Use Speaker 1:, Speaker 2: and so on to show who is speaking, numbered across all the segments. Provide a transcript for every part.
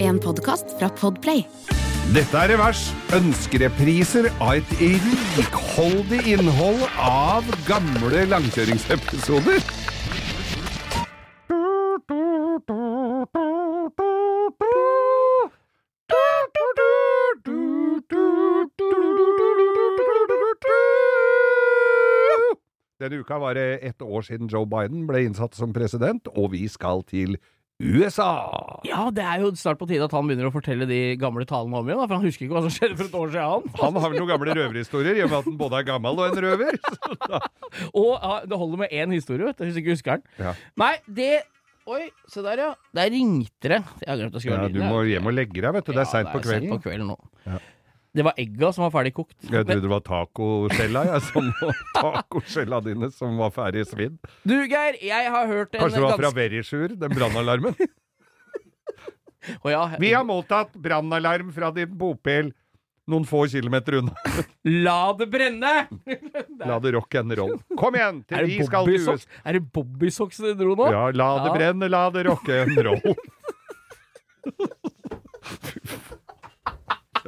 Speaker 1: en podkast fra Podplay.
Speaker 2: Dette er Revers. Ønskerepriser av et rikholdig innhold av gamle langkjøringsepisoder. Denne uka var det ett år siden Joe Biden ble innsatt som president, og vi skal til USA.
Speaker 3: Ja, det er jo snart på tide at han begynner å fortelle de gamle talene om igjen, da, for han husker ikke hva som skjedde for et år siden.
Speaker 2: Han har vel noen gamle røverhistorier, i og med at han både er gammel og en røver.
Speaker 3: Og ja, det holder med én historie, vet du, hvis du ikke husker den.
Speaker 2: Ja.
Speaker 3: Nei, det Oi, se der, ja. Der ringte det. Jeg har glemt å skru av
Speaker 2: Ja, du
Speaker 3: lyden.
Speaker 2: må
Speaker 3: jeg.
Speaker 2: hjem og legge deg, vet du. Det er
Speaker 3: Ja,
Speaker 2: seint på
Speaker 3: sent
Speaker 2: kvelden.
Speaker 3: på kvelden nå.
Speaker 2: Ja.
Speaker 3: Det var egga som var ferdig kokt.
Speaker 2: Jeg trodde det var tacoskjella, jeg, som tacoskjella dine som var ferdig svidd.
Speaker 3: Du, Geir, jeg har hørt en
Speaker 2: Kanskje det var fra
Speaker 3: ganske
Speaker 2: Verisjur, den brannalarmen.
Speaker 3: Å, ja.
Speaker 2: Vi har mottatt brannalarm fra din bopel noen få kilometer unna.
Speaker 3: La det brenne!
Speaker 2: La det rock and roll. Kom igjen,
Speaker 3: Er
Speaker 2: til vi
Speaker 3: det
Speaker 2: skal til USA.
Speaker 3: bobbysocks? Er det bobbysocks du dro nå?
Speaker 2: Ja, la det
Speaker 3: Ja.
Speaker 2: brenne, la det rock and roll.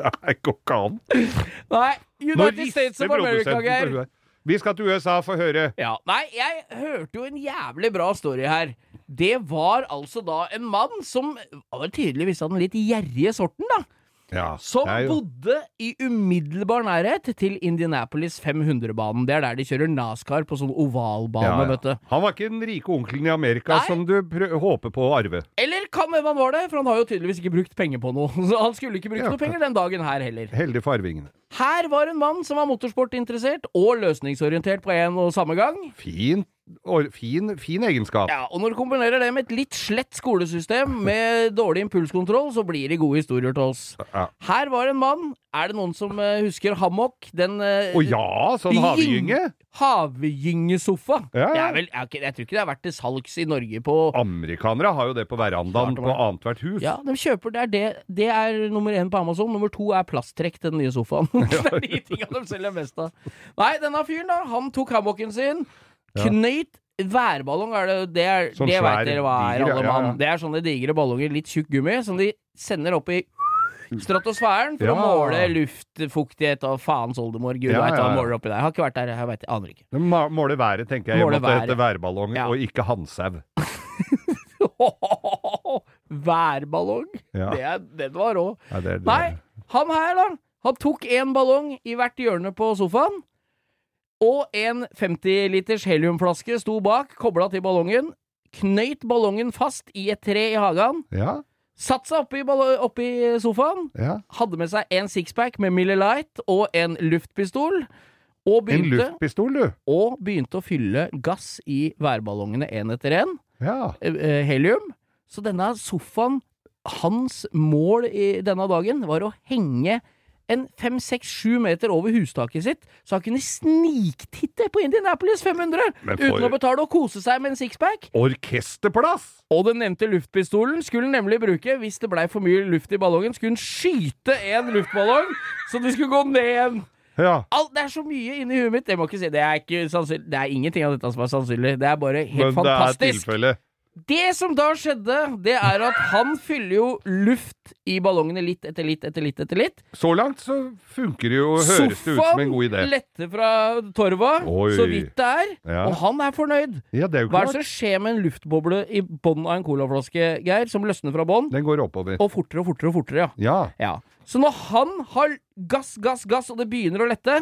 Speaker 2: Det går ikke an.
Speaker 3: Nei,
Speaker 2: Nå
Speaker 3: United
Speaker 2: rister
Speaker 3: States of America,
Speaker 2: produsenten på
Speaker 3: Geir.
Speaker 2: huet. Vi skal til USA for å høre.
Speaker 3: Ja, Nei, jeg hørte jo en jævlig bra story her. Det var altså da en mann som var tydeligvis av den litt gjerrige sorten, da.
Speaker 2: Ja,
Speaker 3: Som
Speaker 2: det er jo-
Speaker 3: Sånn bodde i umiddelbar nærhet til Indianapolis 500-banen. Det er der de kjører NASCAR på sånn ovalbane,
Speaker 2: Ja, ja.
Speaker 3: vet du.
Speaker 2: Han var ikke den rike onkelen i Amerika
Speaker 3: Nei.
Speaker 2: som du prø- håper på å arve.
Speaker 3: Eller kan hvem han var det, for han har jo tydeligvis ikke brukt penger på noe. Så han skulle ikke brukt
Speaker 2: Ja.
Speaker 3: noe penger den dagen her heller.
Speaker 2: Heldig for arvingene.
Speaker 3: Her var en mann som var motorsportinteressert og løsningsorientert på en og samme gang.
Speaker 2: Fin, or, fin, fin egenskap.
Speaker 3: Ja, og når du kombinerer det med et litt slett skolesystem med dårlig impulskontroll, så blir det gode historier til oss.
Speaker 2: Ja.
Speaker 3: Her var en mann. Er det noen som eh, husker hammock? Den uh,
Speaker 2: Å ja, sånn havgynge!
Speaker 3: Havegyngesofa.
Speaker 2: Ja, ja.
Speaker 3: Det er vel, ja, ok, jeg tror ikke det har vært til salgs i Norge på
Speaker 2: Amerikanere har jo det på verandaen
Speaker 3: Klart det
Speaker 2: på
Speaker 3: var.
Speaker 2: annethvert hus.
Speaker 3: ja, de kjøper, det, er det, det er nummer én på Amazon. Nummer to er plasttrekk til den nye sofaen. det er de tinga de selger mest av. Nei, denne fyren, da. Han tok hammocken sin,
Speaker 2: Ja.
Speaker 3: knøyt værballong. Er det, det, er,
Speaker 2: Sånn
Speaker 3: det
Speaker 2: svær,
Speaker 3: veit dere hva er,
Speaker 2: diger, ja,
Speaker 3: alle
Speaker 2: ja.
Speaker 3: mann. Det er sånne digre ballonger, litt tjukk gummi, som de sender opp i stratosfæren for
Speaker 2: Ja.
Speaker 3: å måle luftfuktighet og faens oldemor. Gud
Speaker 2: Ja,
Speaker 3: veit hva
Speaker 2: ja,
Speaker 3: han
Speaker 2: ja.
Speaker 3: måler oppi der. Jeg har ikke vært der, jeg vet, jeg aner ikke.
Speaker 2: De ma- Måler været, tenker jeg.
Speaker 3: Måler
Speaker 2: Måler været. Heter værballong
Speaker 3: Ja.
Speaker 2: og ikke handsau.
Speaker 3: Værballong!
Speaker 2: Ja.
Speaker 3: Det er, den var rå.
Speaker 2: Ja, det er- det er-
Speaker 3: Nei, han her, da. Han tok en ballong i hvert hjørne på sofaen. Og en 50-liters heliumflaske sto bak, kobla til ballongen. Knøyt ballongen fast i et tre i hagen.
Speaker 2: Ja,
Speaker 3: Satt seg oppi, ballo- oppi sofaen.
Speaker 2: ja.
Speaker 3: Hadde med seg en sixpack med Miller Light og en luftpistol. Og
Speaker 2: En
Speaker 3: begynte,
Speaker 2: luftpistol, du.
Speaker 3: og begynte å fylle gass i værballongene én etter én
Speaker 2: Ja.
Speaker 3: eh, helium. Så denne sofaen Hans mål i denne dagen var å henge en fem, seks, sju meter over hustaket sitt, så han kunne sniktitte på Indianapolis 500
Speaker 2: Men for-
Speaker 3: uten å betale og kose seg med en sixpack.
Speaker 2: Orkesterplass!
Speaker 3: Og den nevnte luftpistolen skulle han nemlig bruke hvis det blei for mye luft i ballongen. Skulle han skyte en luftballong, så det skulle gå ned igjen.
Speaker 2: Ja.
Speaker 3: Alt, det er så mye inni huet mitt. Jeg må ikke si, det, er ikke sannsynlig, det er ingenting av dette som er sannsynlig. Det er bare helt
Speaker 2: Men det er
Speaker 3: fantastisk.
Speaker 2: tilfellet.
Speaker 3: Det som da skjedde, det er at han fyller jo luft i ballongene litt etter litt etter litt etter litt.
Speaker 2: Så langt så funker det jo, høres det ut som en god idé.
Speaker 3: letter fra torva,
Speaker 2: Oi.
Speaker 3: så vidt det er,
Speaker 2: Ja.
Speaker 3: og han er fornøyd.
Speaker 2: Ja, det er jo
Speaker 3: Hva er
Speaker 2: klart.
Speaker 3: det som skjer med en luftboble i bånn av en colaflaske, Geir, som løsner fra bånn?
Speaker 2: Den går oppover.
Speaker 3: Og fortere og fortere og fortere, ja.
Speaker 2: Ja.
Speaker 3: ja. Så når han har gass, gass, gass, og det begynner å lette,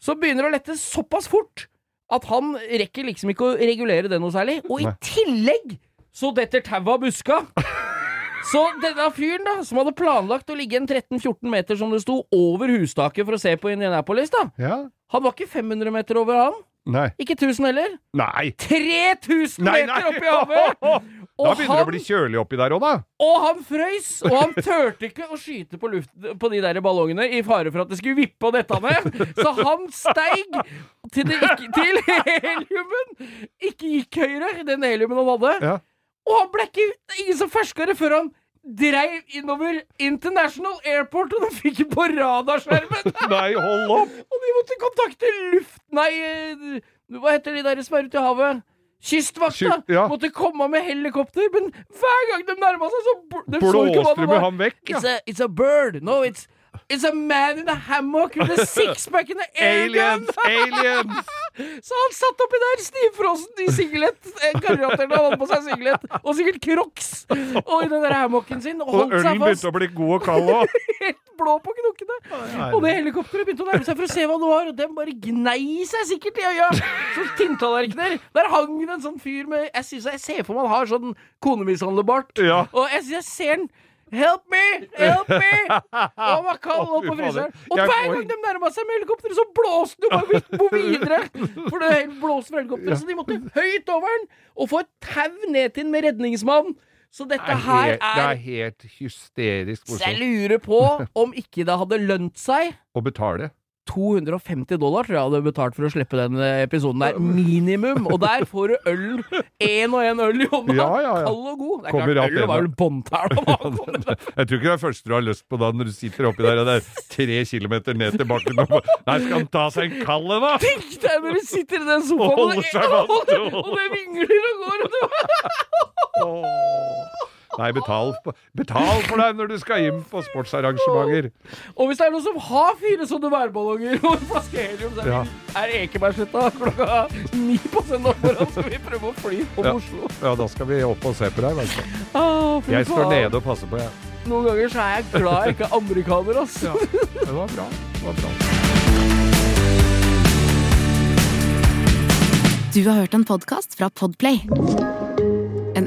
Speaker 3: så begynner det å lette såpass fort at han rekker liksom ikke å regulere det noe særlig. Og i
Speaker 2: Nei.
Speaker 3: tillegg så detter tauet av buska. Så denne fyren, da, som hadde planlagt å ligge en 13-14 meter, som det sto, over hustaket for å se på Indianapolis, da,
Speaker 2: ja.
Speaker 3: han var ikke 500 meter over han.
Speaker 2: Nei.
Speaker 3: Ikke 1000 heller.
Speaker 2: Nei!
Speaker 3: 3000
Speaker 2: Nei,
Speaker 3: meter oppi havet! Og
Speaker 2: Da begynner det
Speaker 3: han-
Speaker 2: å bli kjølig oppi der òg, da.
Speaker 3: Og han frøys, og han turte ikke å skyte på, luft, på de der ballongene i fare for at det skulle vippe og dette ned. Så han steig til, det, ikke, til heliumen. Ikke gikk høyere, den heliumen han hadde.
Speaker 2: Ja.
Speaker 3: Og han ble ikke det er ingen som ferska det før han dreiv innover International Airport, og det fikk på radarskjermen!
Speaker 2: Nei, hold opp!
Speaker 3: og de måtte kontakte luft... Nei, eh, hva heter de der som er ute i havet? Kystvakta
Speaker 2: Sky- ja.
Speaker 3: måtte komme med helikopter, men hver gang de nærma seg, så bl- de så ikke hva det
Speaker 2: Blåste
Speaker 3: var.
Speaker 2: med ham vekk, ja.
Speaker 3: It's a, it's a bird. No, it's It's a man in a hammock with a sixpack and an airgun!
Speaker 2: Aliens! Aliens!
Speaker 3: Så han satt oppi der stivfrossen i singlet. eh, Garantert han hadde på seg singlet. Og sikkert Crocs. Og i den der hammocken sin. Og
Speaker 2: Og
Speaker 3: holdt
Speaker 2: ølen
Speaker 3: seg fast.
Speaker 2: begynte å bli god og kald òg.
Speaker 3: Helt blå på knokkene. Og det helikopteret begynte å nærme seg for å se hva det var, og den bare gnei seg sikkert i øya. Som tinntallerkener. Der hang det en sånn fyr med Jeg synes jeg ser for meg han har sånn konemishandlebart.
Speaker 2: Ja.
Speaker 3: Og jeg synes jeg ser den. Help me! Help me! Og han var kald
Speaker 2: Å,
Speaker 3: opp på
Speaker 2: fy fader.
Speaker 3: fryseren. Og
Speaker 2: Jeg
Speaker 3: hver
Speaker 2: får-
Speaker 3: gang de nærma seg med helikopteret, så blåste det jo bare vidt bo videre. For det hele blåste fra helikopteret, så de måtte høyt over den og få et tau ned til den med redningsmann. Så dette her
Speaker 2: Det
Speaker 3: er
Speaker 2: er helt hysterisk
Speaker 3: så jeg
Speaker 2: morsomt
Speaker 3: lurer på om ikke det hadde lønt seg.
Speaker 2: å betale.
Speaker 3: 250 dollar tror jeg hadde betalt for å slippe den eh, episoden der. Minimum! Og der får du øl. Én og én øl i hånda.
Speaker 2: Ja, ja, ja.
Speaker 3: Kald og god. Det er
Speaker 2: Kommer
Speaker 3: klart,
Speaker 2: rett
Speaker 3: øl var
Speaker 2: inn,
Speaker 3: vel båndtæl om han kom med.
Speaker 2: Jeg tror ikke det er første du har lyst på da, når du sitter oppi der og det er tre kilometer ned til bakken og bare Nei, skal han ta seg en kald en, da?
Speaker 3: Tenk deg når du sitter i den sofaen,
Speaker 2: Og holder
Speaker 3: det-
Speaker 2: seg fast.
Speaker 3: og det- og det vingler og går, og du
Speaker 2: Åh. Nei, betal, på- betal for deg når du skal inn på sportsarrangementer.
Speaker 3: Og hvis det er noen som har fire sånne værballonger og en flaske helium, så er,
Speaker 2: Ja.
Speaker 3: er Ekebergsletta klokka ni på søndag morgen, så vi prøver å fly om
Speaker 2: Ja.
Speaker 3: Oslo.
Speaker 2: Ja, da skal vi opp og se på deg. vet du.
Speaker 3: Ah, fy
Speaker 2: Jeg står
Speaker 3: faen.
Speaker 2: nede og passer på, jeg.
Speaker 3: Noen ganger så er jeg glad jeg ikke er amerikaner, ass.
Speaker 2: Ja. Det var bra. Det var bra.
Speaker 1: Du har hørt en podcast fra Podplay En